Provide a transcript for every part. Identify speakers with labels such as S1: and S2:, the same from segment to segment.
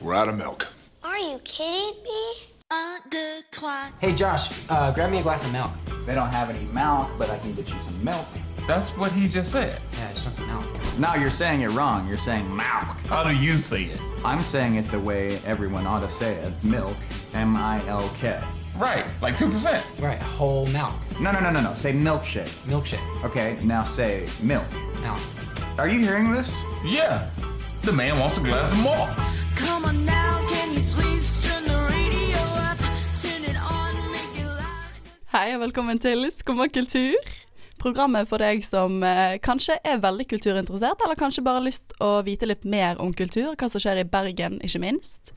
S1: We're out of milk.
S2: Are you kidding me?
S3: Un, deux, trois.
S4: Hey Josh, uh, grab me a glass of milk.
S5: They don't have any milk, but I can get you some milk.
S6: That's what he just said.
S4: Yeah, I just want some milk.
S5: No, you're saying it wrong. You're saying milk.
S6: How do you say it?
S5: I'm saying it the way everyone ought to say it. Milk. M-I-L-K.
S6: Right, like 2%.
S4: Right, whole milk.
S5: No, no, no, no, no. Say milkshake.
S4: Milkshake.
S5: Okay, now say milk.
S4: Milk.
S5: Are you hearing this?
S6: Yeah. The man wants a glass of more.
S3: Come on now, can you please turn the radio up? Turn it on, make it loud.
S7: Hei og velkommen til Skumma kultur. Programmet for deg som eh, kanskje er veldig kulturinteressert, eller kanskje bare har lyst å vite litt mer om kultur, hva som skjer i Bergen, ikke minst.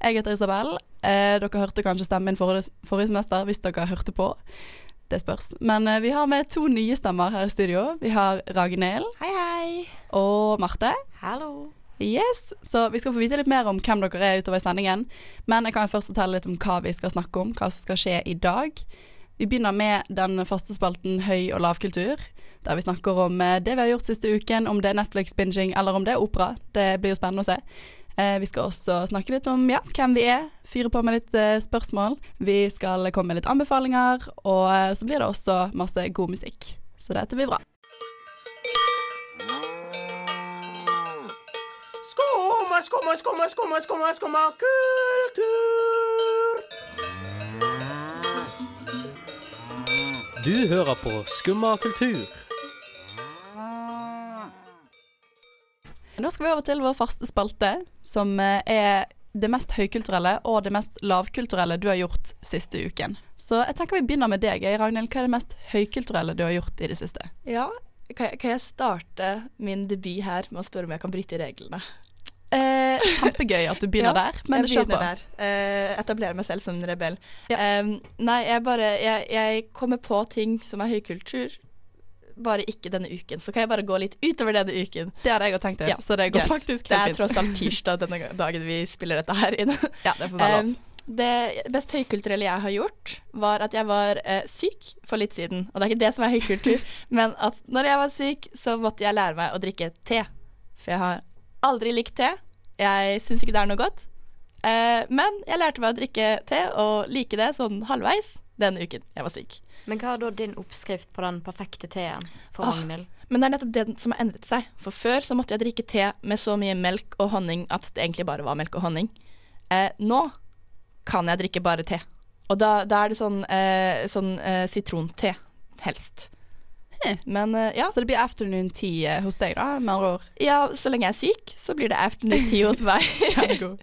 S7: Jeg heter Isabel. Eh, dere hørte kanskje stemmen min forrige, forrige semester, hvis dere hørte på. Det spørs. Men eh, vi har med to nye stemmer her i studio. Vi har Ragnhild
S8: Hei, hei.
S7: og Marte.
S8: Hallo.
S7: Yes, så vi skal få vite litt mer om hvem dere er utover i sendingen. Men jeg kan jo først fortelle litt om hva vi skal snakke om, hva som skal skje i dag. Vi begynner med den faste spalten høy- og lavkultur, der vi snakker om eh, det vi har gjort siste uken, om det er Netflix-binging eller om det er opera. Det blir jo spennende å se. Eh, Vi skal også snakke litt om ja, hvem vi er, fyre på med litt eh, spørsmål. Vi skal komme med litt anbefalinger, og eh, så blir det også masse god musikk. Så dette blir bra.
S9: Skumma, skumma, skumma, skumma, skumma, skumma kultur.
S10: Du hører på Skumma kultur.
S7: Nå skal vi over til vår faste spalte, som eh, er det mest høykulturelle og det mest lavkulturelle du har gjort siste uken. Så jeg tenker vi begynner med deg, Ragnhild. Hva er det mest høykulturelle du har gjort i det siste?
S8: Ja, kan jeg, kan jeg starte min debut her med å spørre om jeg kan bryte reglene?
S7: Eh, kjempegøy at du begynner
S8: Ja,
S7: der, men
S8: jeg
S7: kjør på.
S8: begynner der. Eh, etablerer meg selv som en rebell.
S7: Ja.
S8: Em, nei, jeg bare jeg, jeg kommer på ting som er høykultur, bare ikke denne uken. Så kan jeg bare gå litt utover denne uken.
S7: Det hadde jeg òg tenkt, det,
S8: Ja,
S7: så det går
S8: greit.
S7: faktisk
S8: Det er
S7: helt
S8: tross alt tirsdag denne ga- dagen vi spiller dette her inn.
S7: Ja, det får være lov.
S8: Em, det best høykulturelle jeg har gjort, var at jeg var eh, syk for litt siden. Og det er ikke det som er høykultur, men at når jeg var syk, så måtte jeg lære meg å drikke te. For jeg har aldri likt te. Jeg syns ikke det er noe godt. Eh, men jeg lærte meg å drikke te og like det sånn halvveis den uken jeg var syk.
S11: Men hva er da din oppskrift på den perfekte teen for
S8: Åh.
S11: Ragnhild?
S8: Men det er nettopp det som har endret seg. For før så måtte jeg drikke te med så mye melk og honning at det egentlig bare var melk og honning. Eh, nå kan jeg drikke bare te. Og da, da er det sånn, eh, sånn eh, sitronte, helst.
S7: Hm.
S8: Men eh, ja.
S7: Så det blir afternoon tea eh, hos deg, da, med andre ord.
S8: ja, så lenge jeg er syk, så blir det afternoon tea hos meg.
S7: Kjempegod.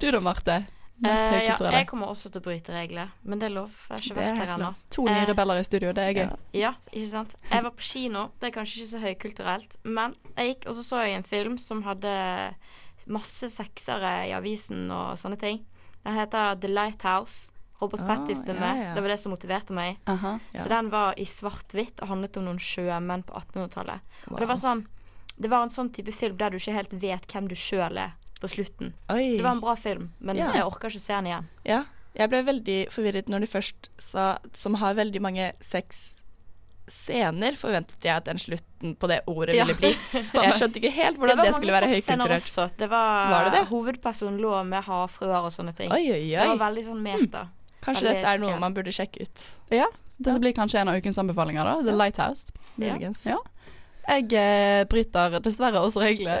S7: Du da, Marte. Mest
S11: Eh, ja,
S7: høykulturelle.
S11: jeg kommer også til å bryte regler, men det er lov. Jeg har
S8: Det
S11: ikke
S8: er
S11: vært der
S8: helt
S11: ennå.
S8: lov.
S7: To nye
S11: eh,
S7: rebeller i studio, det er gøy.
S8: ja.
S11: Ja, ikke sant. Jeg var på kino, det er kanskje ikke så høykulturelt, men jeg gikk og så så jeg en film som hadde masse seksere i avisen og sånne ting. Den heter The Lighthouse. Robert
S8: Ah,
S11: Pattinson er
S8: ja,
S11: med.
S8: ja.
S11: Det var det som motiverte meg.
S7: Aha.
S11: Så den var i svart-hvitt og handlet om noen sjømenn på 1800-tallet. Og det var sånn Det var en sånn type film der du ikke helt vet hvem du sjøl er på slutten.
S8: Oi.
S11: Så det var en bra film, men
S8: Ja.
S11: jeg orker ikke se den igjen.
S8: Ja. Jeg ble veldig forvirret når de først sa som har veldig mange sex scener, forventet jeg at den slutten på det ordet
S7: Ja,
S8: ville bli. Jeg skjønte ikke helt hvordan det, skulle være
S11: sexscener
S8: høykulturelt.
S11: også. Det var,
S8: Var det det?
S11: Hovedpersonen lå med havfruer og sånne ting.
S8: Oi, oi,
S11: Så det var
S8: oi. Hmm.
S11: veldig sånn meta.
S8: Kanskje
S11: veldig
S8: dette er noe
S11: spesielt.
S8: man burde sjekke ut.
S7: Ja, dette blir kanskje en av ukens anbefalinger, da. The Lighthouse.
S11: Ja.
S8: Muligens.
S7: Ja. Jeg eh, bryter dessverre også regler,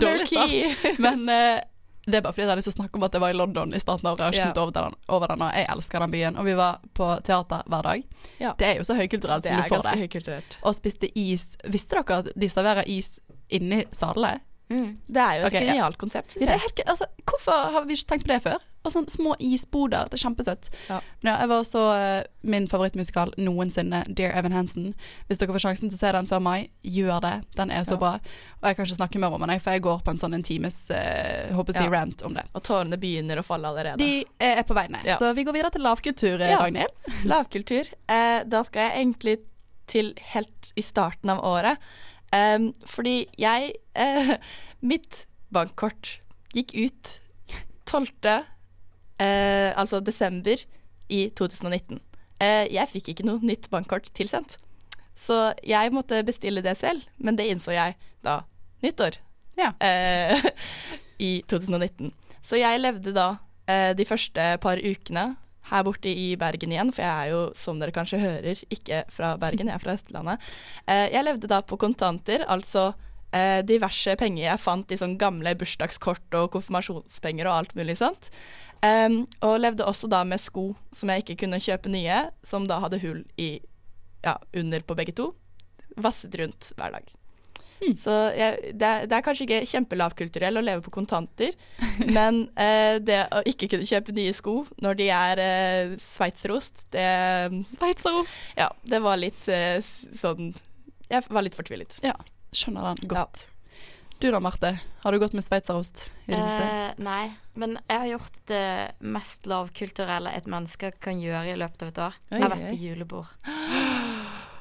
S7: Dårlig start. men eh, det er bare fordi jeg har lyst til å snakke om at jeg var i London i starten av året. Jeg har ikke kommet over den, over den, og jeg elsker den byen. Og vi var på teater hver dag.
S8: Ja.
S7: Det er jo så høykulturelt
S8: Det
S7: som
S8: er
S7: du får
S8: ganske
S7: det.
S8: høykulturelt.
S7: Og spiste is. Visste dere at de serverer is inni salene?
S11: Mm.
S8: Det er jo et
S7: Ok, ja.
S8: genialt konsept,
S7: Ja,
S8: syns
S7: det er
S8: jeg.
S7: helt, gøy. altså, hvorfor har vi ikke tenkt på det før? Og sånne små isboder, det er kjempesøtt.
S8: Ja.
S7: Men ja, jeg var også eh, min favorittmusikal noensinne, Dear Evan Hansen. Hvis dere får sjansen til å se den før mai, gjør det. Den er så
S8: Ja.
S7: bra. Og jeg kan ikke snakke mer om den, jeg, for jeg går på en sånn en times eh, håper jeg,
S8: Ja.
S7: si, rant om det.
S8: Og tårene begynner å falle allerede.
S7: De eh, er på vei ned,
S8: Ja.
S7: så vi går videre til lavkultur, eh,
S8: Ja.
S7: Ragnhild.
S8: Lavkultur. Eh, da skal jeg egentlig til helt i starten av året. Em, fordi jeg eh, Mitt bankkort gikk ut 12. Eh, altså desember i 2019. Eh, jeg fikk ikke noe nytt bankkort tilsendt. Så jeg måtte bestille det selv, men det innså jeg da nyttår.
S7: Ja.
S8: Eh, i 2019. Så jeg levde da eh, de første par ukene her borte i Bergen igjen, for jeg er jo, som dere kanskje hører, ikke fra Bergen, jeg er fra Østlandet. Eh, jeg levde da på kontanter, altså eh, diverse penger jeg fant i sånn gamle bursdagskort og konfirmasjonspenger og alt mulig sånt. Em, og levde også da med sko som jeg ikke kunne kjøpe nye, som da hadde hull i, ja, under på begge to. Vasset rundt hver dag.
S7: Hmm.
S8: Så jeg, det, er, det er kanskje ikke kjempelavkulturell å leve på kontanter, men eh, det å ikke kunne kjøpe nye sko når de er eh, sveitserost, det,
S7: Sveitserost.
S8: ja, det var litt eh, s- sånn Jeg var litt fortvilet.
S7: Ja, skjønner den godt. Du da, Marte. Har du gått med sveitserost i det siste?
S11: Eh, nei, men jeg har gjort det mest lavkulturelle et menneske kan gjøre i løpet av et år.
S8: Oi,
S11: jeg har vært
S8: oi.
S11: på julebord.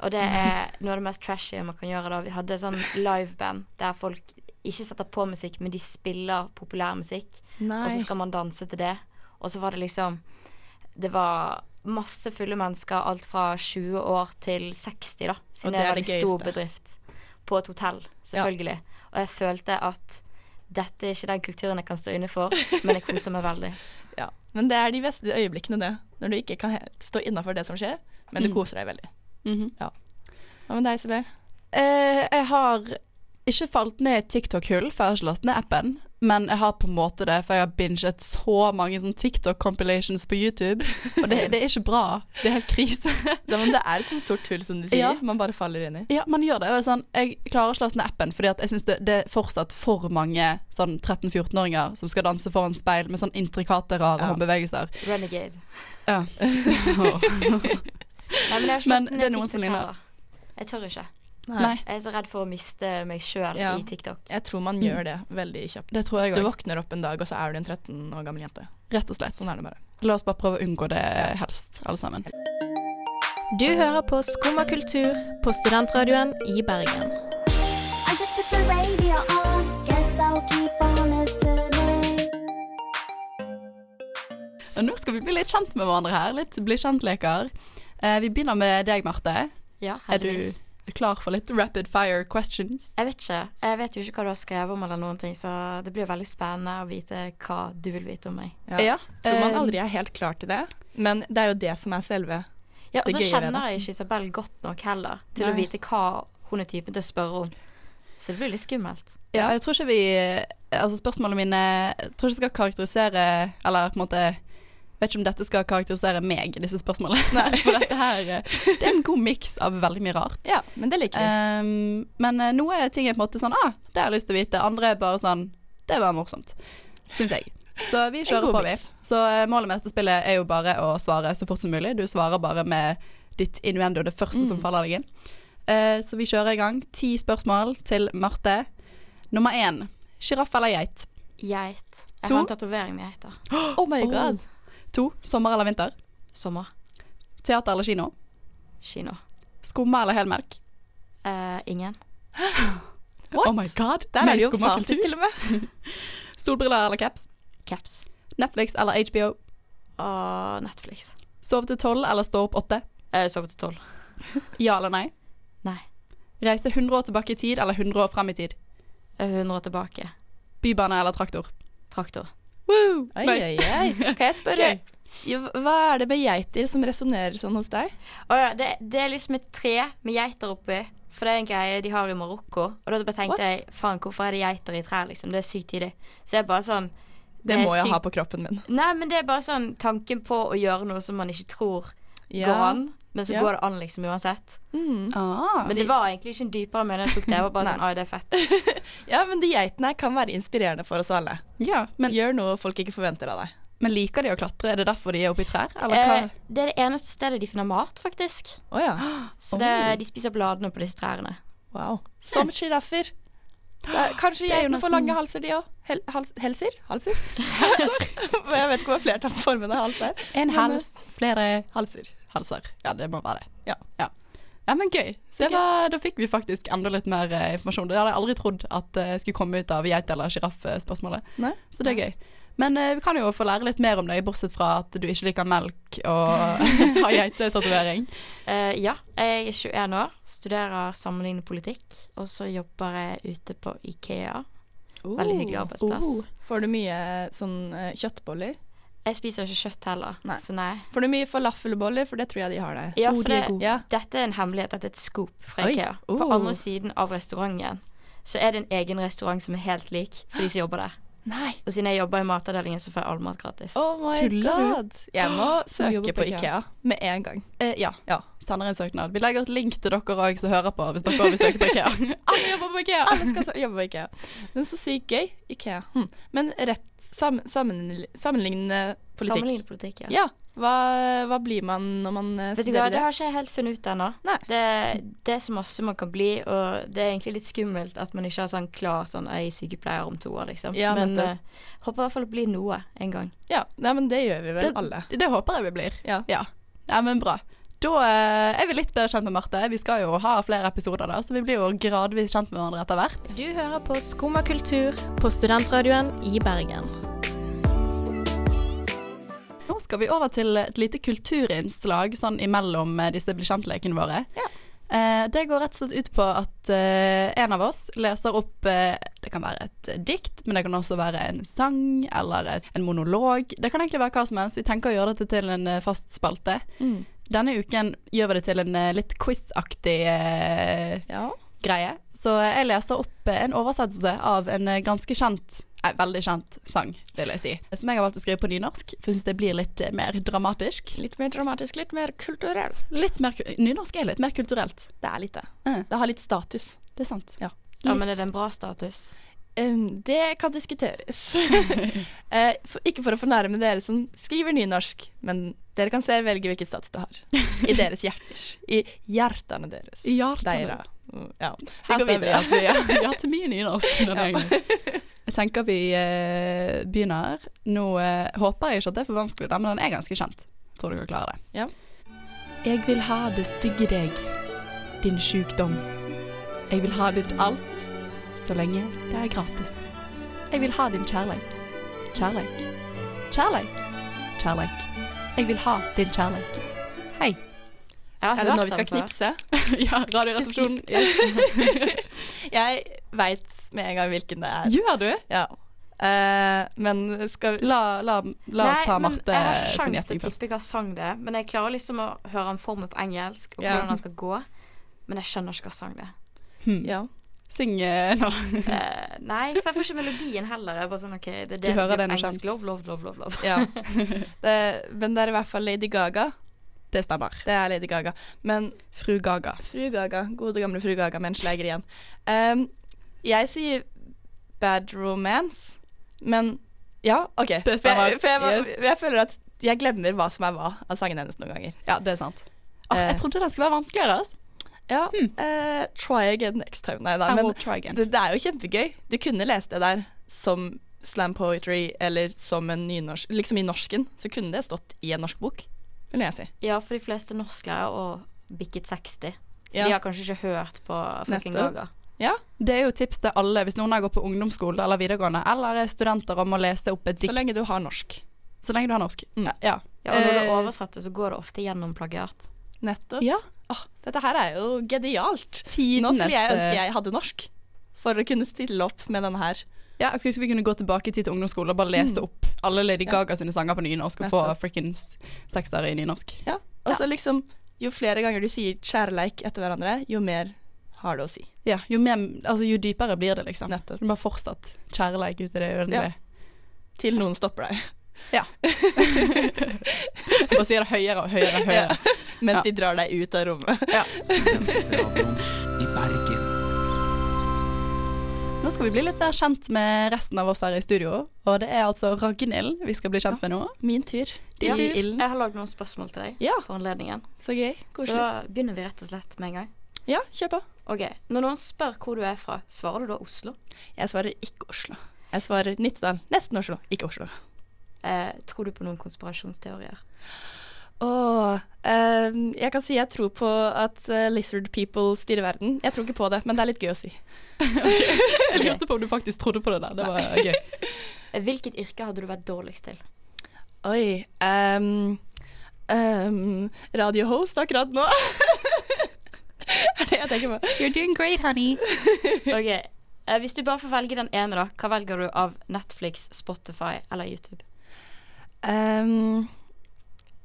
S11: Og det er noe av det mest trashy man kan gjøre. da Vi hadde sånn liveband der folk ikke setter på musikk, men de spiller populær musikk. Og så skal man danse til det. Og så var det liksom Det var masse fulle mennesker, alt fra 20 år til 60, da. Siden
S8: det
S11: det
S8: er
S11: er en
S8: det
S11: veldig stor
S8: gøyeste.
S11: bedrift. På et hotell, selvfølgelig. Og jeg følte at dette er ikke den kulturen jeg kan stå inne for, men jeg koser meg veldig.
S8: Ja. Men det er de beste øyeblikkene, det. Når du ikke kan helt stå innafor det som skjer, men
S7: Hmm.
S8: du koser deg veldig.
S7: Mhm.
S8: Ja. Hva med deg, Isabel?
S7: Eh, jeg har ikke falt ned i TikTok-hull, for jeg har ikke lastet ned appen. Men jeg har på en måte det, for jeg har binget så mange sånn TikTok-compilations på YouTube. Og det, det er ikke bra. Det er helt krise.
S8: Det, men det er et sånt sort hull, som de sier.
S7: Ja.
S8: Man bare faller inn i.
S7: Ja, man gjør det. Og jeg er sånn, jeg klarer ikke å laste ned appen, fordi at jeg syns det, det er fortsatt for mange sånn 13-14-åringer som skal danse foran speil med sånn intrikate, rare håndbevegelser.
S11: Renegade.
S7: Ja.
S11: Nei, men jeg har ikke
S7: Men
S11: lyst til
S7: det er noen som
S11: TikTok
S7: ligner.
S11: heller. Jeg tør ikke.
S7: Nei,
S11: Jeg er så redd for å miste meg sjøl
S8: Ja.
S11: i TikTok.
S8: Jeg tror man gjør det veldig kjapt.
S7: Mm. det tror jeg
S8: Du
S7: òg.
S8: våkner opp en dag, og så er du en 13 år gammel jente.
S7: Rett og slett.
S8: Sånn er det bare.
S7: La oss bare prøve å unngå det helst, alle sammen.
S1: Du hører på Skumma kultur på Studentradioen i Bergen.
S2: I just put the radio on. Guess I'll keep on listening.
S7: Og nå skal vi bli litt kjent med hverandre her. Litt bli kjent-leker. Eh, vi begynner med deg, Marte.
S11: Ja,
S7: Er du
S11: heldigvis.
S7: klar for litt rapid fire questions?
S11: Jeg vet ikke. Jeg vet jo ikke hva du har skrevet om, eller noen ting, så det blir veldig spennende å vite hva du vil vite om meg.
S7: Ja.
S8: Tror man
S7: Eh,
S8: aldri er helt klar til det, men det er jo det som er selve.
S11: Ja, og
S8: Det
S11: så
S8: gøye ved det.
S11: kjenner jeg ikke Isabel godt nok heller til å
S8: Nei.
S11: vite hva hun er typen til å spørre om. Så det blir litt skummelt.
S7: Ja, jeg tror ikke vi Altså spørsmålene mine Jeg tror ikke skal karakterisere Eller på en måte Jeg vet ikke om dette skal karakterisere meg, disse spørsmålene. For dette her eh, Det er en god miks av veldig mye rart.
S8: Ja, men det liker vi.
S7: Um, men eh, noe ting er på en måte sånn Ah, det har jeg lyst til å vite. Andre er bare sånn Det var morsomt. Syns jeg. Så vi kjører
S8: god
S7: på, vi.
S8: miks.
S7: Så eh, målet med dette spillet er jo bare å svare så fort som mulig. Du svarer bare med ditt innuendo, det første
S8: Mm.
S7: som faller deg inn. Eh, så vi kjører i gang. Ti spørsmål til Marte. Nummer én. Sjiraff eller geit?
S11: Geit. Jeg
S7: To.
S11: har en tatovering med geiter.
S8: Oh my god.
S7: To. Sommer eller vinter?
S11: Sommer.
S7: Teater eller kino?
S11: Kino.
S7: Skumma eller helmelk?
S11: Eh, ingen.
S8: What?
S7: Oh my god.
S8: Der er
S7: Mer
S8: det jo
S7: skumma
S8: fasit
S7: kultur.
S8: til og med.
S7: Solbriller eller caps?
S11: Caps.
S7: Netflix eller HBO?
S11: Og Netflix.
S7: Sove til tolv eller stå opp åtte?
S11: Eh, Sove til tolv.
S7: Ja eller nei?
S11: Nei.
S7: Reise 100 år tilbake i tid eller 100 år frem i tid?
S11: Eh, 100 år tilbake.
S7: Bybane eller traktor?
S11: Traktor.
S7: Woo!
S8: Oi,
S7: Nice.
S8: oi, oi. Kan jeg spørre, jo, hva er det med geiter som resonnerer sånn hos deg?
S11: Å ja, det, det er liksom et tre med geiter oppi. For det er en greie de har i Marokko. Og da bare tenkte
S8: What?
S11: jeg faen, hvorfor er det geiter i trær, liksom? Det er sykt tidlig. Så jeg bare sånn
S8: Det
S11: er
S8: må jeg
S11: sykt-
S8: ha på kroppen min.
S11: Nei, men det er bare sånn tanken på å gjøre noe som man ikke tror går an. Men så
S8: Ja.
S11: går det an liksom uansett.
S7: Ah.
S11: Men det var egentlig ikke en dypere mening jeg tok det. Jeg var bare sånn, «Ai, det er fett.
S8: Ja, men de geitene kan være inspirerende for oss alle.
S7: Ja, men,
S8: Gjør noe folk ikke forventer av deg.
S7: men liker de å klatre? Er det derfor de er oppi trær? Eller hva?
S11: Eh, det er det eneste stedet de finner mat, faktisk.
S8: Å ja.
S11: Så det, de spiser bladene på disse trærne.
S8: Wow. Som sjiraffer.
S7: er
S8: Kanskje
S7: jo
S8: geitene får
S7: nesten-
S8: lange halser, de òg. Hel, hals, helser? Halser? Halser? jeg vet ikke hva flertallsformen av hals er.
S7: En hals, flere
S8: Halser.
S7: halser. Ja, det må være det.
S8: Ja.
S7: Ja, Ja, men gøy. Det var, da fikk vi faktisk enda litt mer eh, informasjon. Det hadde jeg aldri trodd at eh, skulle komme ut av geit- eller sjiraff-spørsmålet.
S8: Nei.
S7: Så det er gøy. Men eh, vi kan jo få lære litt mer om deg, bortsett fra at du ikke liker melk og har geitetatovering.
S11: Eh, ja, jeg er 21 år, studerer sammenlignende politikk, og så jobber jeg ute på Ikea. Veldig hyggelig arbeidsplass.
S8: Får du mye sånn eh, kjøttboller?
S11: Jeg spiser ikke kjøtt heller, så nei.
S8: Får du mye falafelboller, for det tror jeg Oh, de har der.
S11: Ja, for det,
S8: Ja.
S11: dette er en hemmelighet. Dette er et scoop fra
S8: Oi.
S11: IKEA. På
S8: Oh.
S11: andre siden av restauranten så er det en egen restaurant som er helt lik for de som jobber der.
S8: Nei.
S11: Og siden jeg jobber i matavdelingen, så får jeg all mat gratis.
S8: Oh my god. Jeg må søke på Ikea med en gang.
S7: Eh, ja. Sender en søknad. Vi legger et link til dere òg som hører på, hvis dere òg vil søke på IKEA. Alle jobber på Ikea.
S8: Alle skal så- jobbe på Ikea. Men så sykt gøy. Ikea. Hm. Men rett sam sammenl- sammenlignende politikk.
S11: Sammenlignende politikk, ja.
S8: Hva, hva blir man når man eh,
S11: Vet du hva,
S8: studerer
S11: det
S8: det?
S11: har ikke jeg helt funnet ut ennå. Det, det er så masse man kan bli, og det er egentlig litt skummelt at man ikke har sånn klar sånn jeg er sykepleier om to år, liksom.
S8: Ja,
S11: Men
S8: nettopp.
S11: eh, håper i hvert fall å bli noe en gang.
S8: Ja, nei, men det gjør vi vel
S7: Det-
S8: alle.
S7: Det håper jeg vi blir.
S8: Ja.
S7: ja. Ja, men bra. Da eh, er vi litt bedre kjent med Marte. Vi skal jo ha flere episoder, da, så vi blir jo gradvis kjent med hverandre etter hvert.
S1: Du hører på Skumma kultur på studentradioen i Bergen.
S7: Nå skal vi over til et lite kulturinnslag sånn imellom eh, disse bli kjent-lekene våre. Eh, Det går rett og slett ut på at eh, en av oss leser opp eh, Det kan være et dikt, men det kan også være en sang eller et- en monolog. Det kan egentlig være hva som helst. Vi tenker å gjøre dette til en eh, fast spalte.
S8: Mm.
S7: Denne uken gjør vi det til en eh, litt quiz-aktig eh, greie. Så eh, jeg leser opp eh, en oversettelse av en eh, ganske kjent Nei, veldig kjent sang, vil jeg si. Som jeg har valgt å skrive på nynorsk, for jeg syns det blir litt eh, mer dramatisk.
S8: Litt mer dramatisk, litt mer kulturell.
S7: Litt mer, ku- nynorsk er litt mer kulturelt.
S8: Det er litt det. Det har litt status.
S7: Det er sant.
S8: Ja.
S11: Ja, men er det en bra status?
S8: Um, det kan diskuteres. Eh, for, ikke for å fornærme dere som skriver nynorsk, men dere kan selv velge hvilken stats det har. I deres hjerter. I hjertene deres.
S7: I hjertene.
S8: Deira. Mm, Ja. Vi
S7: Her
S8: går
S7: ser vi
S8: videre.
S7: at vi har- vi har hatt mye nynorsk i denne gangen. Jeg tenker vi eh, begynner. Nå eh, håper jeg ikke at det er for vanskelig, da, men den er ganske kjent. Tror dere klarer det.
S8: Ja.
S7: Jeg vil ha det stygge deg, din sjukdom. Jeg vil ha ditt alt, så lenge det er gratis. Jeg vil ha din kjærleik, kjærleik, kjærleik, kjærleik. Jeg vil ha din kjærleik. Hei.
S8: Er det nå vi skal knipse?
S7: ja, Radioresepsjonen.
S8: Jeg veit med en gang hvilken det er.
S7: Gjør du?
S8: Ja. Eh, men skal vi
S7: La, la, la oss ta
S11: men
S7: Marte
S11: Jeg har ikke
S7: sin
S11: sjans til
S7: gjetting
S11: å
S7: først.
S11: tippe hva sang det er, men jeg klarer liksom å høre han for meg på engelsk, og
S8: Ja.
S11: hvordan han skal gå. Men jeg skjønner ikke hva sang det er.
S8: Ja.
S7: Syng eh, nå.
S11: Eh, nei, for jeg får ikke melodien heller. Jeg er bare sånn, ok, det, er det,
S7: Du hører
S11: det er
S7: den er
S11: engelsk.
S7: kjent.
S11: Love, love, love, love, love.
S8: ja. Det, men det er i hvert fall Lady Gaga.
S7: Det stemmer.
S8: Det er Lady Gaga. Men
S7: Fru Gaga.
S8: Fru Gaga, gode gamle fru Gaga med en sleger igjen. Ehm, jeg sier bad romance, men ja, OK.
S7: Det
S8: For
S7: stemmer.
S8: jeg, for jeg,
S7: Yes.
S8: jeg føler at jeg glemmer hva som er hva av sangene hennes noen ganger.
S7: Ja, det er sant. Åh,
S8: Eh.
S7: Ah, jeg trodde det skulle være vanskeligere. Altså.
S8: Ja, eh, try again next time. Nei da,
S7: I
S8: men
S7: will try again.
S8: det, det er jo kjempegøy. Du kunne lest det der som slam poetry eller som en nynorsk Liksom i norsken, så kunne det stått i en norsk bok, vil jeg si.
S11: Ja, for de fleste norsklærere og bikket 60. Så
S8: Ja.
S11: de har kanskje ikke hørt på fucking
S8: Nettopp.
S11: Gaga.
S8: Ja,
S7: Det er jo tips til alle hvis noen har gått på ungdomsskole eller videregående, eller er studenter om å lese opp et
S8: så
S7: dikt
S8: lenge du har norsk.
S7: så lenge du har norsk.
S8: Mm.
S7: Ja.
S11: Ja, og når det
S7: Eh,
S11: er oversatt, så går det ofte gjennom plagiat.
S8: Nettopp.
S7: ja.
S8: Åh, dette her er jo genialt. Nå
S7: Tidenes,
S8: skulle jeg ønske
S7: eh,
S8: jeg hadde norsk, for å kunne stille opp med denne her.
S7: Ja, jeg skulle ønske vi kunne gå tilbake i tid til ungdomsskole og bare lese opp alle Lady Gaga sine sanger på nynorsk og få
S8: Nettopp.
S7: frikkens sekser i nynorsk.
S8: Ja. Og så liksom, jo flere ganger du sier kjærleik etter hverandre, jo mer har det å si.
S7: Ja, jo, mer, altså, jo dypere blir det, liksom.
S8: Nettopp.
S7: Du må fortsatt kjærleik ut i det uendelige.
S8: Til noen stopper deg,
S7: Ja. Bare sier det høyere og høyere og høyere.
S8: mens
S7: Ja.
S8: de drar deg ut av rommet.
S5: Studentradioen i Bergen.
S7: Nå skal vi bli litt mer kjent med resten av oss her i studio. Og det er altså Ragnhild vi skal bli kjent med nå.
S8: Min tur.
S11: Ja.
S8: I
S11: Jeg
S8: ilden.
S11: har lagd noen spørsmål til deg
S8: Ja.
S11: for anledningen.
S8: Så gøy.
S11: Så
S8: Koselig.
S11: da begynner vi rett og slett med en gang.
S8: Ja, kjør på.
S11: Ok, Når noen spør hvor du er fra, svarer du da Oslo?
S8: Jeg svarer ikke Oslo. Jeg svarer Nittedal. Nesten Oslo, ikke Oslo.
S11: Eh, tror du på noen konspirasjonsteorier?
S8: Åh, eh, jeg kan si jeg tror på at eh, lizard people styrer verden. Jeg tror ikke på det, men det er litt gøy å si.
S7: Jeg lurte på om du faktisk trodde på det der. Det var gøy.
S11: Eh, Hvilket yrke hadde du vært dårligst til?
S8: Oi ehm, ehm, Radiohost akkurat nå. er det jeg tenker på.
S7: You're doing great, honey.
S11: Ok, eh, Eh, hvis du bare får velge den ene, da, hva velger du av Netflix, Spotify eller YouTube?
S8: Ehm,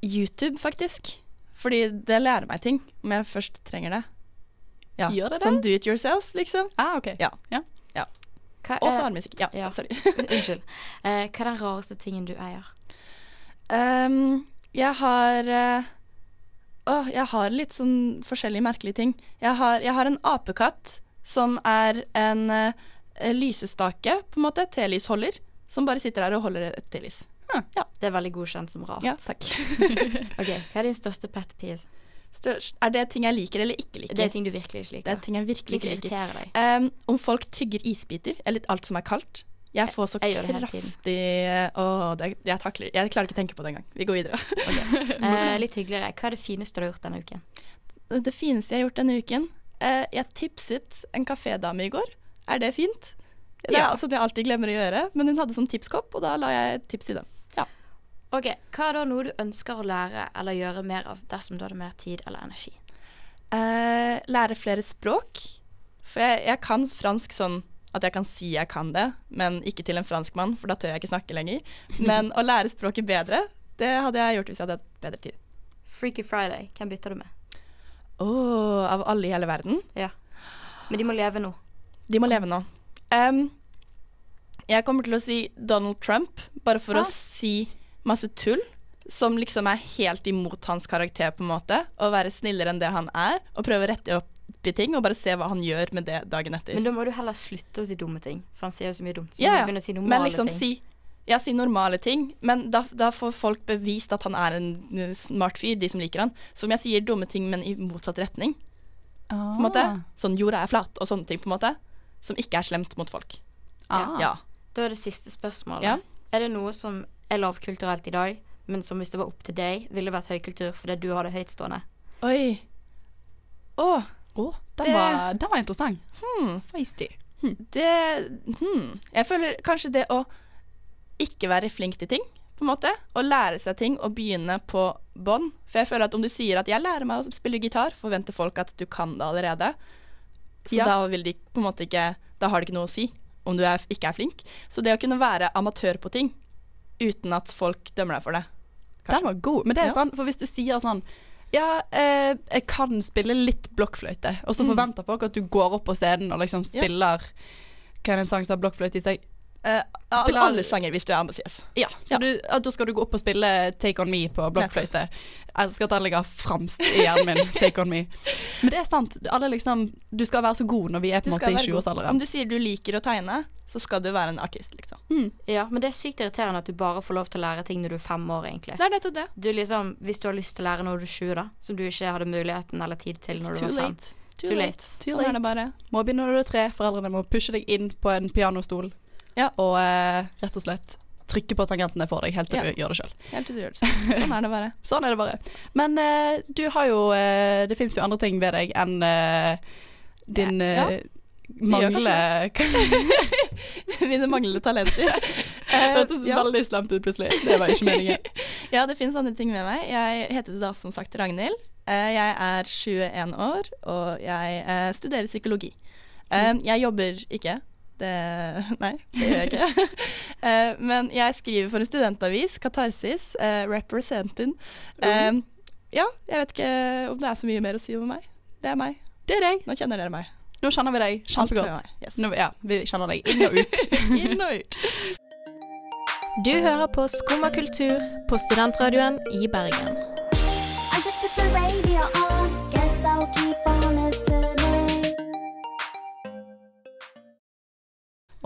S8: YouTube, faktisk. Fordi det lærer meg ting, om jeg først trenger det. Ja.
S7: Gjør det det?
S8: Sånn do it yourself, liksom.
S7: Ah, ok.
S8: Ja.
S7: Ja.
S8: ja.
S11: Hva
S8: Og så
S11: er-
S8: har musikk. Ja,
S11: Ja.
S8: sorry.
S11: Unnskyld. Eh, hva er den rareste tingen du eier?
S8: Ehm, jeg har eh, Åh, jeg har litt sånn forskjellige merkelige ting. Jeg har, jeg har en apekatt som er en eh, lysestake, på en måte. Telysholder. Som bare sitter her og holder et telys.
S11: Det er veldig godkjent som rart.
S8: Ja, takk.
S11: Ok, Hva er din største pet peeve?
S8: Størst- Er det ting jeg liker eller ikke liker?
S11: Det er ting du virkelig ikke liker.
S8: Det er ting jeg virkelig
S11: Ting som
S8: ikke liker.
S11: irriterer deg.
S8: Ehm, om folk tygger isbiter, eller alt som er kaldt. Jeg får så
S11: Jeg gjør det hele tiden.
S8: kraftig eh, Åh, det, jeg takler Jeg klarer ikke å tenke på det engang. Vi går videre.
S11: Eh, litt hyggeligere. Hva er det fineste du har gjort denne uken?
S8: Det fineste jeg har gjort denne uken eh, Jeg tipset en kafédame i går. Er det fint? Det er
S11: Ja.
S8: altså det jeg alltid glemmer å gjøre, men hun hadde sånn tipskopp, og da la jeg et tips i den. Ja.
S11: Ok, Hva er da noe du ønsker å lære eller gjøre mer av dersom du hadde mer tid eller energi?
S8: Eh, lære flere språk. For jeg, jeg kan fransk sånn at jeg kan si jeg kan det, men ikke til en franskmann, for da tør jeg ikke snakke lenger. Men å lære språket bedre, det hadde jeg gjort hvis jeg hadde hatt bedre tid.
S11: Freaky Friday, hvem bytter du med?
S8: Å, av alle i hele verden.
S11: Ja. Men de må leve nå.
S8: De må leve nå. Em, jeg kommer til å si Donald Trump, bare for
S11: Ja.
S8: å si masse tull. Som liksom er helt imot hans karakter, på en måte. Å være snillere enn det han er, og prøve å rette opp i ting, og bare se hva han gjør med det dagen etter.
S11: Men da må du heller slutte å si dumme ting, for han sier jo så mye dumt. Så
S8: Ja,
S11: du
S8: ja.
S11: må begynne å si
S8: men
S11: normale
S8: liksom
S11: ting.
S8: si ja, si normale ting, men da, da får folk bevist at han er en eh, smart fyr, de som liker han. Som jeg sier dumme ting, men i motsatt retning. På en måte.
S11: Ah.
S8: Sånn jorda er flat og sånne ting, på en måte. Som ikke er slemt mot folk.
S7: Ah.
S8: Ja.
S11: Da er det siste spørsmålet.
S8: Ja.
S11: Er det noe som er lavkulturelt i dag, men som hvis det var opp til deg, ville vært høykultur fordi du har det høytstående?
S8: Oi. Å,
S7: Å, den,
S8: Det-
S7: var, den var interessant.
S8: hmm.
S7: Feisty.
S8: Det hmm. Jeg føler kanskje det å ikke være flink til ting, på en måte. Å lære seg ting og begynne på bånn. For jeg føler at om du sier at 'jeg lærer meg å spille gitar', forventer folk at du kan det allerede. Så
S7: Ja.
S8: da vil de på en måte ikke Da har det ikke noe å si om du er, ikke er flink. Så det å kunne være amatør på ting uten at folk dømmer deg for det.
S7: Den var god. Men det er
S8: Ja.
S7: sånn, for hvis du sier sånn ja, eh, jeg kan spille litt blokkfløyte. Og så forventer folk at du går opp på scenen og liksom
S8: Ja.
S7: spiller Hva er det en sang som har blokkfløyte i seg?
S8: Eh, av
S7: Spiller-
S8: alle sanger, hvis du er ambisiøs.
S7: Ja, så
S8: Ja.
S7: Du, at da skal du gå opp og spille Take On Me på blokkfløyte. Jeg elsker at den ligger fremst i hjernen min, Take On Me. Men det er sant. Alle liksom, du skal være så god når vi er på en måte i
S8: Om
S7: 20-årsalderen.
S8: du sier du liker å tegne, så skal du være en artist, liksom.
S11: Ja, men det er sykt irriterende at du bare får lov til å lære ting når du er fem år, egentlig.
S8: Det er nettopp det.
S11: Du liksom, hvis du har lyst til å lære når du er sju, da, som du ikke hadde muligheten eller tid til når du
S8: Too
S11: var fem.
S8: late. Too,
S11: Too
S8: late.
S11: late.
S8: Sånn er det bare.
S7: Må begynne når du er tre. Foreldrene må pushe deg inn på en pianostol
S8: Ja.
S7: og eh, rett og slett trykke på tangentene for deg helt til
S8: Ja.
S7: du gjør det sjøl.
S8: Helt til du gjør det sånn. Sånn er det bare.
S7: Sånn er det bare. Men eh, du har jo eh, Det fins jo andre ting ved deg enn eh, din eh,
S8: Ja. gjør Eh,
S7: mangle
S8: Mine manglende talenter.
S7: Det
S8: Eh,
S7: hørtes
S8: ja.
S7: veldig slemt ut plutselig. Det var ikke meningen.
S8: ja, det finnes andre ting med meg. Jeg heter da som sagt Ragnhild. Eh, Jeg er 21 år, og jeg eh, studerer psykologi. Eh, Jeg jobber ikke. Det, nei, det gjør jeg ikke. Eh, Men jeg skriver for en studentavis, Katarsis, eh, Representin. Eh, Ja, jeg vet ikke om det er så mye mer å si om meg. Det er meg.
S7: Det er deg.
S8: Nå kjenner dere meg.
S7: Nå kjenner vi deg
S8: Alt med
S7: kjempegodt.
S8: meg. Yes.
S7: Nå, ja, vi kjenner deg inn og ut.
S8: Inn og ut.
S1: Du hører på Skumma kultur på studentradioen i Bergen.
S2: I just put the radio on. Guess I'll keep on listening.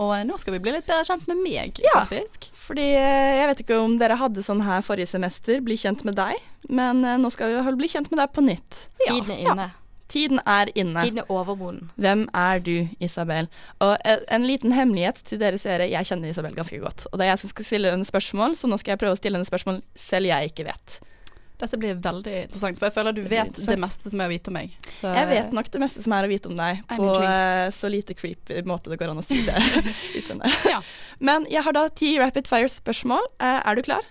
S7: Og eh, nå skal vi bli litt bedre kjent med meg,
S8: Ja.
S7: faktisk.
S8: Fordi eh, jeg vet ikke om dere hadde sånn her forrige semester, bli kjent med deg, men eh, nå skal vi vel bli kjent med deg på nytt.
S11: Tiden er inne.
S8: Tiden er inne.
S11: Tiden er overmoden.
S8: Hvem er du, Isabel? Og eh, en liten hemmelighet til dere seere, jeg kjenner Isabel ganske godt. Og det er jeg som skal stille henne spørsmål, så nå skal jeg prøve å stille henne spørsmål selv jeg ikke vet.
S7: Dette blir veldig interessant, for jeg føler du
S8: Det blir
S7: vet det
S8: interessant.
S7: meste som er å vite om meg. Så,
S8: Jeg vet nok det meste som er å vite om deg,
S7: Eh, I'm
S8: på
S7: intrigued.
S8: eh, så lite creepy måte det går an å si det utseendet.
S7: Ja.
S8: Men jeg har da ti rapid fire-spørsmål. Eh, Er du klar?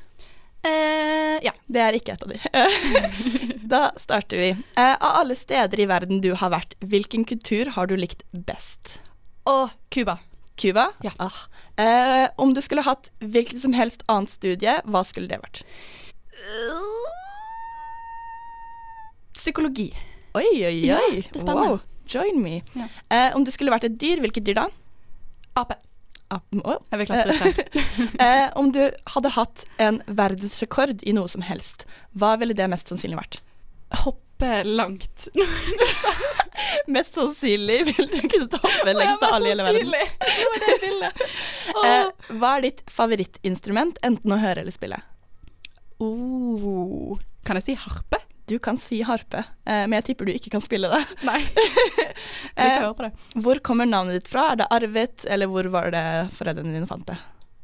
S7: Eh, ja.
S8: Det er ikke et av de. da starter Eh, vi. Eh, av alle steder i verden du har vært, hvilken kultur har du likt best?
S7: Å, Og Cuba.
S8: Cuba? Ah. Eh, om du skulle hatt hvilket som helst annet studie, hva skulle det vært?
S7: Psykologi.
S8: Oi, oi, oi.
S7: Ja, det er spennende.
S8: Wow. Join me.
S7: Ja.
S8: Eh, om du skulle vært et dyr, hvilket dyr da?
S7: Ape.
S8: Apen, å.
S7: Jeg vil klatre litt der.
S8: eh, om du hadde hatt en verdensrekord i noe som helst, hva ville det mest sannsynlig vært?
S7: Hoppe langt.
S8: Mest sannsynlig ville du kunne hoppe lengst av alle i hele verden.
S7: Det var det jeg ville.
S8: Eh, hva er ditt favorittinstrument, enten å høre eller spille?
S7: Oh. Kan jeg si harpe?
S8: Du kan si harpe, eh, men jeg tipper du ikke kan spille det.
S7: Nei.
S8: Eh,
S7: Jeg hører på det.
S8: Hvor kommer navnet ditt fra? Er det arvet, eller hvor var det foreldrene dine fant det?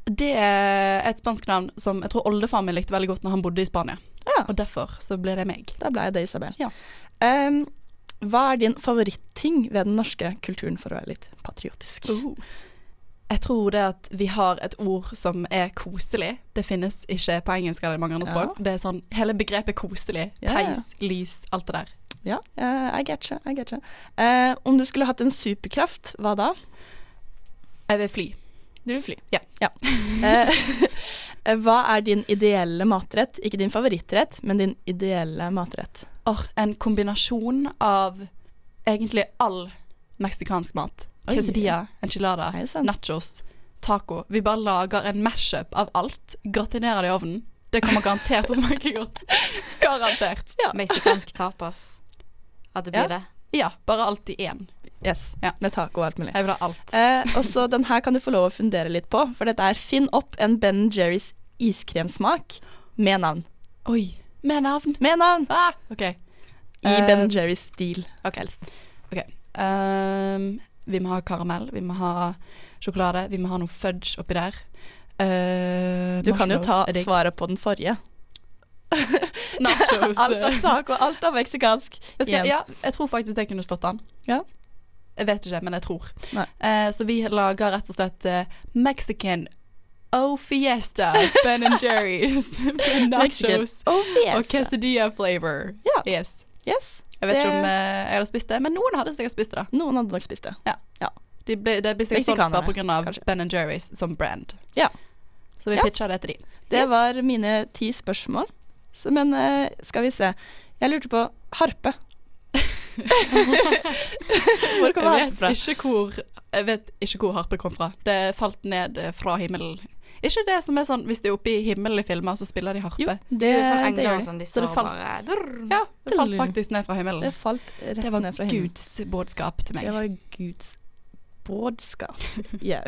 S7: Det er et spansk navn som jeg tror oldefaren min likte veldig godt når han bodde i Spania.
S8: Ja.
S7: Og derfor så ble det meg.
S8: Da ble jeg det, Isabel.
S7: Ja.
S8: Ehm, hva er din favoritting ved den norske kulturen, for å være litt patriotisk?
S7: Uh. Uhuh. Jeg tror det at vi har et ord som er koselig. Det finnes ikke på engelsk eller i mange andre
S8: Ja.
S7: språk. Det er sånn hele begrepet koselig.
S8: Ja.
S7: Peis, lys, alt det der.
S8: Ja, eh, I get you. I get you. Eh, om du skulle hatt en superkraft, hva da?
S7: Jeg vil fly.
S8: Du vil fly.
S7: Ja.
S8: ja. Eh, eh, hva er din ideelle matrett? Ikke din favorittrett, men din ideelle matrett.
S7: Or, en kombinasjon av egentlig all meksikansk mat.
S8: Oi.
S7: Quesadilla, enchilada,
S8: Hei sann.
S7: nachos, taco. Vi bare lager en mashup av alt. Gratinerer det i ovnen. Det kommer garantert til å smake godt. Garantert.
S11: Meksikansk tapas. At det
S8: Ja.
S11: blir det.
S7: Ja, bare alt i én.
S8: Yes,
S7: Ja.
S8: Med taco og alt mulig.
S7: Jeg vil ha alt.
S8: Eh, og så den her kan du få lov å fundere litt på, for dette er Finn opp en Ben Jerrys iskremsmak med navn.
S7: Oi. Med navn.
S8: Med navn!
S7: Ah, OK.
S8: I
S7: Eh,
S8: Ben Jerrys stil.
S7: Ok. Ok. Ehm, vi må ha karamell, vi må ha sjokolade, vi må ha noe fudge oppi der. Eh,
S8: Du kan jo ta
S7: marshmallows er digg.
S8: svaret på den forrige.
S7: Nachos. eh.
S8: Alt av taco, alt av meksikansk.
S7: Vet du hva?
S8: igjen.
S7: Ja, jeg tror faktisk jeg kunne slått an.
S8: Ja.
S7: Jeg vet ikke, men jeg tror.
S8: Nei.
S7: Eh, så vi lager rett og slett eh, Mexican Oh Fiesta Ben Jerry's med
S8: Mexican.
S7: nachos
S8: Oh,
S7: og
S8: yes.
S7: quesadilla flavor.
S8: Ja.
S7: Yes.
S8: yes.
S7: Jeg vet ikke
S8: Det-
S7: om eh, jeg hadde spist det, men noen hadde sikkert spist det.
S8: Noen hadde nok spist det.
S7: De ble, det blir sikkert solgt
S8: Meksikanerne,
S7: bare pga.
S8: kanskje.
S7: Ben Jerry's som brand.
S8: Ja.
S7: Så vi
S8: Ja.
S7: pitcha det til de.
S8: Det
S7: Yes.
S8: var mine ti spørsmål. Så, men eh, skal vi se. Jeg lurte på harpe. Hvor kommer
S7: Jeg
S8: harpe fra?
S7: vet, ikke hvor, jeg vet ikke hvor harpe kom fra. Det falt ned eh, fra himmelen. Ikke det som er sånn hvis de er oppe i himmelen i filmer, så spiller de harpe.
S8: Jo, det,
S11: Det er jo sånn
S8: det
S11: engler
S8: gjør
S11: og
S8: de.
S11: sånn, de
S7: Så det
S11: står
S7: falt.
S11: bare drrr.
S7: Ja, det falt faktisk ned fra himmelen.
S8: Det falt rett
S7: Det var
S8: ned fra himmelen.
S7: Guds budskap til meg.
S8: Det var Guds budskap. Yeah.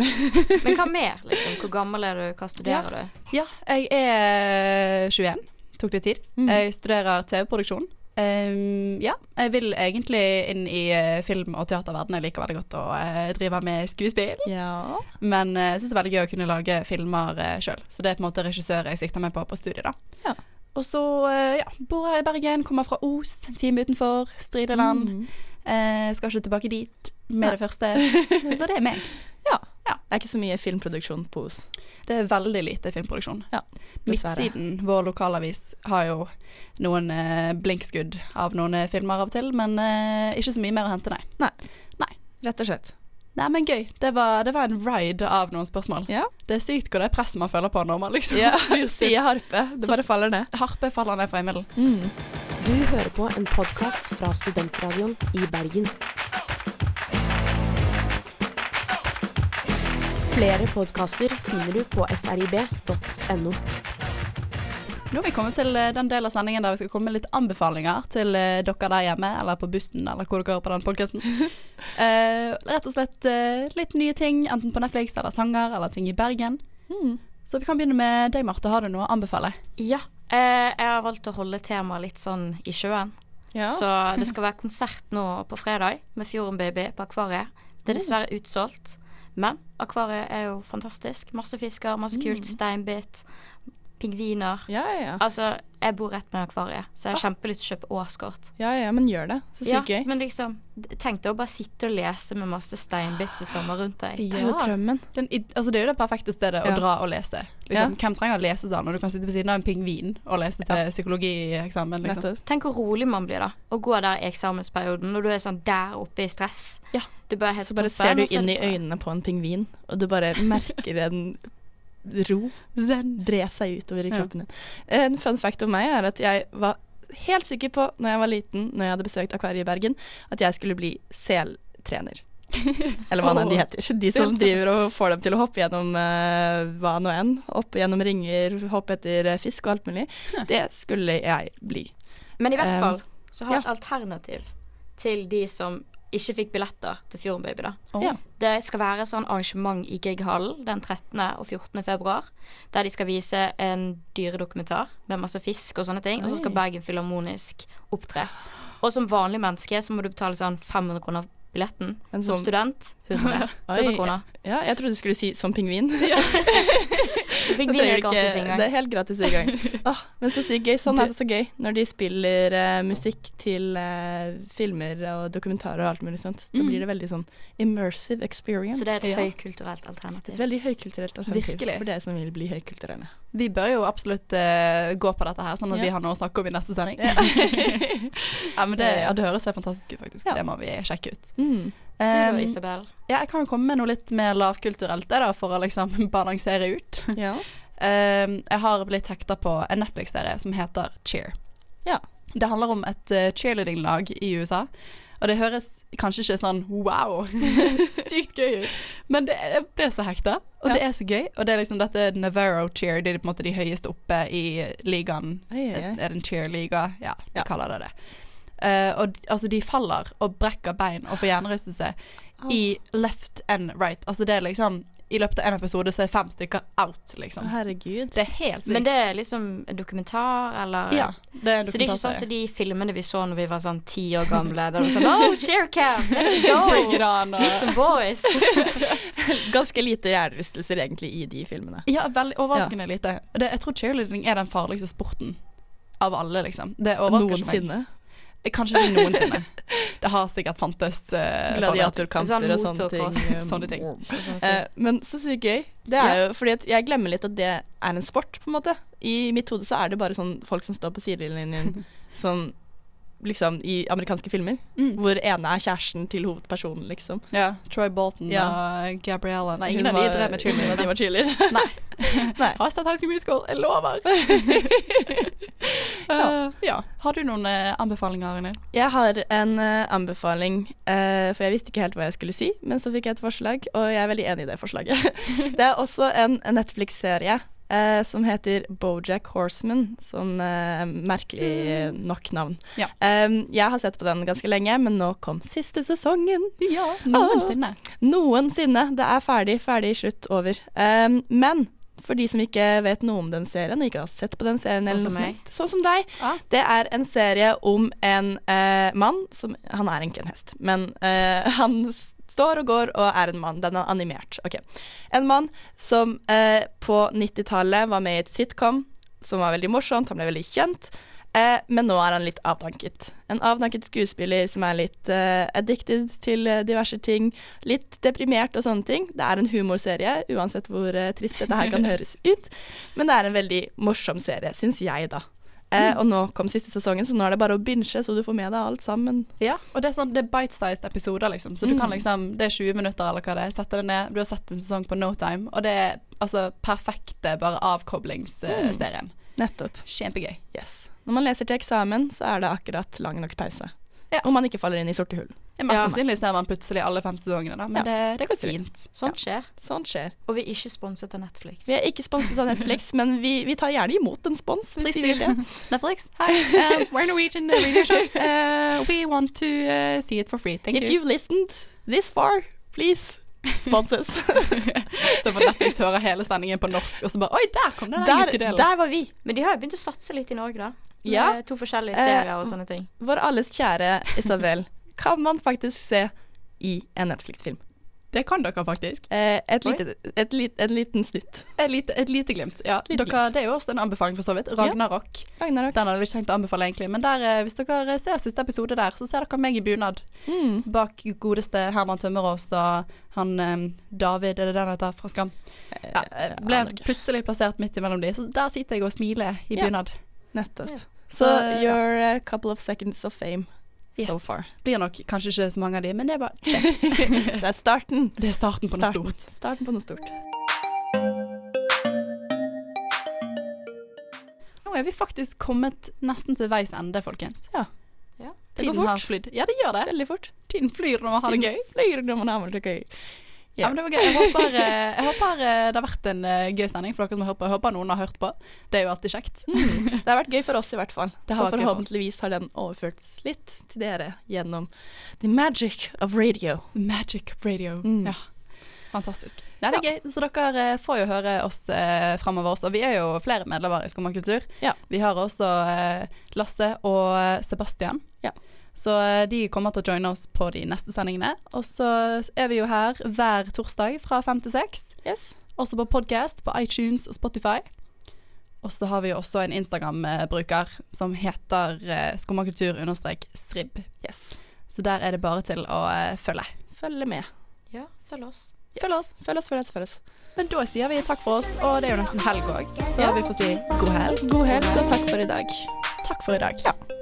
S11: Men hva mer, liksom? Hvor gammel er du? Hva studerer du?
S7: Ja, jeg er 21. Tok litt tid.
S8: Mhm.
S7: Jeg studerer TV-produksjon. Ehm, ja, jeg vil egentlig inn i eh, film- og teaterverdenen. Jeg liker veldig godt å eh, drive med skuespill.
S8: ja.
S7: Men eh, jeg syns det er veldig gøy å kunne lage filmer uh, sjøl. Så det er på en måte regissør jeg sikter meg på på studiet, da.
S8: Ja.
S7: Og så eh, ja, bor jeg i Bergen, kommer fra Os, en time utenfor, Strideland.
S8: Mm.
S7: Eh, skal ikke tilbake dit med det første. Så det er meg.
S8: Det er ikke så mye filmproduksjon på Os,
S7: Det er veldig lite filmproduksjon.
S8: Ja, dessverre.
S7: Midtsiden, vår lokalavis, har jo noen eh, blinkskudd av noen eh, filmer av og til, men eh, ikke så mye mer å hente, nei.
S8: rett og slett.
S7: Nei, men gøy. Det var, det var en ride av noen spørsmål.
S8: Ja.
S7: Det er sykt hvor det presset man føler på når man liksom blir sint.
S8: Sier harpe. Det
S7: Så-
S8: bare faller ned.
S7: Harpe faller ned fra himmelen.
S12: Du hører på en podkast fra Studentradioen i Bergen. Flere podkaster finner du på srib.no.
S7: Nå er vi kommet til eh, den delen av sendingen der vi skal komme med litt anbefalinger til eh, dere der hjemme, eller på bussen, eller hvor dere hører på den podkasten. rett og slett eh, litt nye ting, enten på Netflix eller sanger eller ting i Bergen. Så vi kan begynne med deg, Marte. Har du noe å anbefale?
S11: Ja. Eh, jeg har valgt å holde temaet litt sånn i sjøen.
S8: Ja.
S11: Så det skal være konsert nå på fredag med Fjorden Baby på Akvariet.
S8: Mm.
S11: Det er dessverre
S8: Mm.
S11: utsolgt, men Akvariet er jo fantastisk. Masse fisker, masse kult, steinbit. pingviner. Altså, jeg bor rett med akvariet, så jeg har kjempelyst til å kjøpe årskort.
S8: Ja, ja, men gjør Ah. det. Så sykt
S11: Ja,
S8: gøy.
S11: Men liksom, d- tenk deg å bare sitte og lese med masse
S8: Ah.
S11: steinbits som svømmer rundt deg.
S7: Det er jo drømmen. Den, id- altså, det er jo det perfekte stedet å
S11: Ja.
S7: dra og lese. Liksom, Hvem trenger å lese sånn når du kan sitte ved siden av en pingvin og lese til psykologieksamen? Liksom.
S11: Tenk hvor rolig man blir da, å gå der i eksamensperioden når du er sånn der oppe i stress. Du bare er helt
S8: Så bare
S11: toppen,
S8: ser du
S11: og så er
S8: inn
S11: det
S8: i øynene på en pingvin, og du bare merker en ro dre seg utover i
S7: Ja.
S8: kroppen din. En fun fact om meg er at jeg var helt sikker på, når jeg var liten, når jeg hadde besøkt akvariet i Bergen, at jeg skulle bli seltrener. Eller hva nå enn de heter. De som driver og får dem til å hoppe gjennom eh, hva nå enn. Hoppe gjennom ringer, hoppe etter eh, fisk og alt mulig. Det skulle jeg bli.
S11: Men i hvert
S8: Eh,
S11: fall så har jeg et alternativ til de som ikke fikk billetter til Fjorden Baby, da.
S8: Å. Ja.
S11: Det skal være sånn arrangement i Grieghallen den 13. og 14. februar, der de skal vise en dyredokumentar med masse fisk og sånne ting, og så skal
S8: Oi.
S11: Bergen Filharmonisk opptre. Og som vanlig menneske så må du betale sånn 500 kroner for billetten.
S8: Men
S11: som
S8: som-
S11: student 100, 100 kroner.
S8: Ja, jeg trodde du skulle si 'som pingvin'.
S11: pingvin
S8: Det
S11: er
S8: ikke-
S11: gratis inngang.
S8: Det er helt gratis inngang. Åh, men så sykt gøy. Sånn er det så gøy når de spiller eh, musikk til eh, filmer og dokumentarer og alt mulig sånt. Da
S11: Mm.
S8: blir det veldig sånn immersive experience.
S11: Så det er et
S8: Ja.
S11: høykulturelt
S8: Et
S11: alternativ.
S8: veldig høykulturelt alternativ
S7: Virkelig.
S8: for dere som vil bli høykulturelle.
S7: Vi bør jo absolutt eh, gå på dette her, sånn at
S8: Ja.
S7: vi har noe å snakke om i neste sending. Ja, men det, ja, det høres helt fantastisk ut, faktisk. Det må vi sjekke ut.
S8: Mm.
S11: Du
S7: Um,
S11: da, Isabel.
S7: Ja, jeg kan jo komme med noe litt mer lavkulturelt det da, for å liksom balansere ut.
S8: Ja.
S7: Um, jeg har blitt hekta på en Netflix-serie som heter Cheer.
S8: Ja.
S7: Det handler om et eh, cheerleading-lag i USA. Og det høres kanskje ikke sånn wow, sykt gøy ut, men det, jeg ble så hekta. Og det er så gøy. Og det er liksom dette Navarro Cheer, det er på en måte de høyeste oppe i ligaen.
S8: Oi, oi, oi.
S7: Er det en cheerliga? Ja, vi kaller det det. Eh, og d- altså, de faller og brekker bein og får hjernerystelse i left and right. Altså, det er liksom I løpet av en episode så er fem stykker out, liksom.
S8: Herregud.
S7: Det er helt sykt.
S11: Men det er liksom en dokumentar, eller
S7: Ja, det er en
S11: Så det er ikke sånn
S7: dokumentarserie.
S11: som de filmene vi så når vi var sånn ti år gamle. Der det var sånn Oh, cheer cam, let's go!
S7: Bring it on, og-
S11: Meet some boys.
S8: Ganske lite hjernerystelser egentlig i de filmene.
S7: Ja, veldig overraskende lite. Og Det, jeg tror cheerleading er den farligste sporten av alle, liksom. Det overrasker ikke meg.
S8: Noensinne.
S7: Eh, Kanskje ikke noensinne. Det har sikkert fantes eh,
S8: Gladiatorkamper
S7: former.
S8: og sånne ting.
S7: Mm, sånne ting.
S8: Eh, men så sykt gøy. Det er jo fordi at jeg glemmer litt at det er en sport, på en måte. I mitt hode så er det bare sånn folk som står på sidelinjen som liksom i amerikanske filmer.
S7: Mm.
S8: Hvor ene er kjæresten til hovedpersonen, liksom.
S7: Ja, Troy Bolton
S8: Ja.
S7: og Gabriella Nei,
S8: Hun
S7: ingen av de
S8: var-
S7: drev med cheerleading.
S8: ingen av de var cheerleader.
S7: Nei. Har sett High School Musical, jeg lover. Eh, ja. Har du noen eh, anbefalinger, Arne?
S8: Jeg har en eh, anbefaling, eh, for jeg visste ikke helt hva jeg skulle si, men så fikk jeg et forslag, og jeg er veldig enig i det forslaget. det er også en en Netflix-serie eh, som heter Bojack Horseman, som eh, merkelig eh, nok navn.
S7: Ja.
S8: Em, jeg har sett på den ganske lenge, men nå kom siste sesongen.
S7: Ja, noensinne.
S8: Noensinne. Det er ferdig, ferdig, slutt, over. Em, men for de som ikke vet noe om den serien, og ikke har sett på den serien,
S11: Sånn
S8: eller
S11: som
S8: noe som
S11: meg.
S8: helst, Sånn som deg. Det er en serie om en eh, mann som Han er egentlig en hest, men eh, han s- står og går og er en mann. Den er animert. ok. En mann som eh, på 90-tallet var med i et sitcom som var veldig morsomt, han ble veldig kjent. eh, men nå er han litt avdanket. En avdanket skuespiller som er litt eh, addicted til eh, diverse ting. Litt deprimert og sånne ting. Det er en humorserie, uansett hvor eh, trist dette her kan høres ut. Men det er en veldig morsom serie, syns jeg, da. Eh,
S7: Mm.
S8: og nå kom siste sesongen, så nå er det bare å binche, så du får med deg alt sammen.
S7: Ja, og det er, sånn, det er bite-sized episoder, liksom. Så du
S8: Mm.
S7: kan liksom, det er 20 minutter eller hva det er, sette det ned. Du har sett en sesong på no time, og det er altså perfekte bare
S8: Mm.
S7: avkoblingsserien.
S8: Nettopp.
S7: Kjempegøy.
S8: Yes. Når man leser til eksamen, så er det akkurat lang nok pause.
S7: Ja.
S8: Om man ikke faller inn i sorte hull.
S7: Ja, Mest sannsynlig ser man plutselig alle fem sesongene, da, men det, det går fint.
S11: Sånt skjer.
S8: Sånn skjer.
S11: Og vi er ikke sponset av Netflix.
S8: Vi er ikke sponset av Netflix, men vi, vi tar gjerne imot en spons. Hvis
S7: Please
S8: de vil
S7: do.
S8: det.
S7: Netflix, hi, um, we're Norwegian radio show. Uh, we want to uh, see it for free, thank
S8: If
S7: you.
S8: you've listened this far, please sponses.
S7: Så får Netflix høre hele sendingen på norsk, og så bare, oi, der kom den engelske
S8: der,
S7: delen.
S8: der var vi.
S11: Men de har jo begynt å satse litt i Norge, da. Med
S8: Ja.
S11: To forskjellige
S8: Eh,
S11: serier og sånne ting.
S8: Vår alles kjære Isabel kan man faktisk se i en Netflix-film. Eh,
S7: Det kan dere faktisk.
S8: et lite- en liten snutt.
S7: Et lite, et lite glimt, ja.
S8: Lite
S7: dere,
S8: glimt.
S7: det er jo også en anbefaling, for så vidt. Ragnarok. Den hadde vi ikke tenkt å anbefale, egentlig. Men der, eh, hvis dere ser siste episode der, så ser dere meg i bunad.
S8: Mm.
S7: Bak godeste Herman Tømmerås og han eh, David, er det den han heter, fra Skam. Ja, eh, ble plutselig plassert midt imellom de, så der sitter jeg og smiler i
S8: Ja.
S7: bunad.
S8: Nettopp.
S7: Så, ja.
S8: Så you're a couple of seconds of fame so
S7: Yes.
S8: far.
S7: Blir nok kanskje ikke så mange av de, men det er bare kjekt.
S8: Det er starten.
S7: Det er starten på noe
S8: Starten.
S7: stort.
S8: Starten på noe stort.
S7: Nå er vi faktisk kommet nesten til veis ende, folkens.
S8: Ja.
S11: Ja.
S8: Det går
S7: Tiden
S8: fort.
S7: har flydd. Ja, det gjør det.
S8: Veldig fort.
S7: Tiden flyr når man har det gøy.
S8: Flyr når man har det gøy.
S7: Ja, men det var gøy. Jeg håper, eh, jeg håper eh, det har vært en eh, gøy sending for dere som har hørt på. Jeg håper noen har hørt på. Det er jo alltid kjekt.
S8: Det har vært gøy for oss i hvert fall.
S7: Det
S8: Så
S7: har vært gøy for oss.
S8: forhåpentligvis har den overførts litt til dere gjennom the magic of radio.
S7: Magic radio.
S8: Mm.
S7: Ja. Fantastisk. Nei, det er gøy. Så dere eh, får jo høre oss eh, framover også. Vi er jo flere medlemmer i Skumma kultur.
S8: Ja.
S7: Vi har også eh, Lasse og eh, Sebastian.
S8: Ja.
S7: Så eh, de kommer til å joine oss på de neste sendingene. Og så er vi jo her hver torsdag fra fem til seks.
S8: Yes.
S7: Også på podcast på iTunes og Spotify. Og så har vi jo også en Instagram-bruker som heter eh, skummakultur-srib.
S8: Yes.
S7: Så der er det bare til å eh, følge.
S8: Følg med.
S11: Ja, følg oss.
S8: Følg oss. Følg oss, følg oss, følg oss.
S7: Men da sier vi takk for oss, og det er jo nesten helg òg, så
S8: Ja.
S7: vi får si god helg.
S8: God helg, og takk for i dag.
S7: Takk for i dag.
S8: Ja.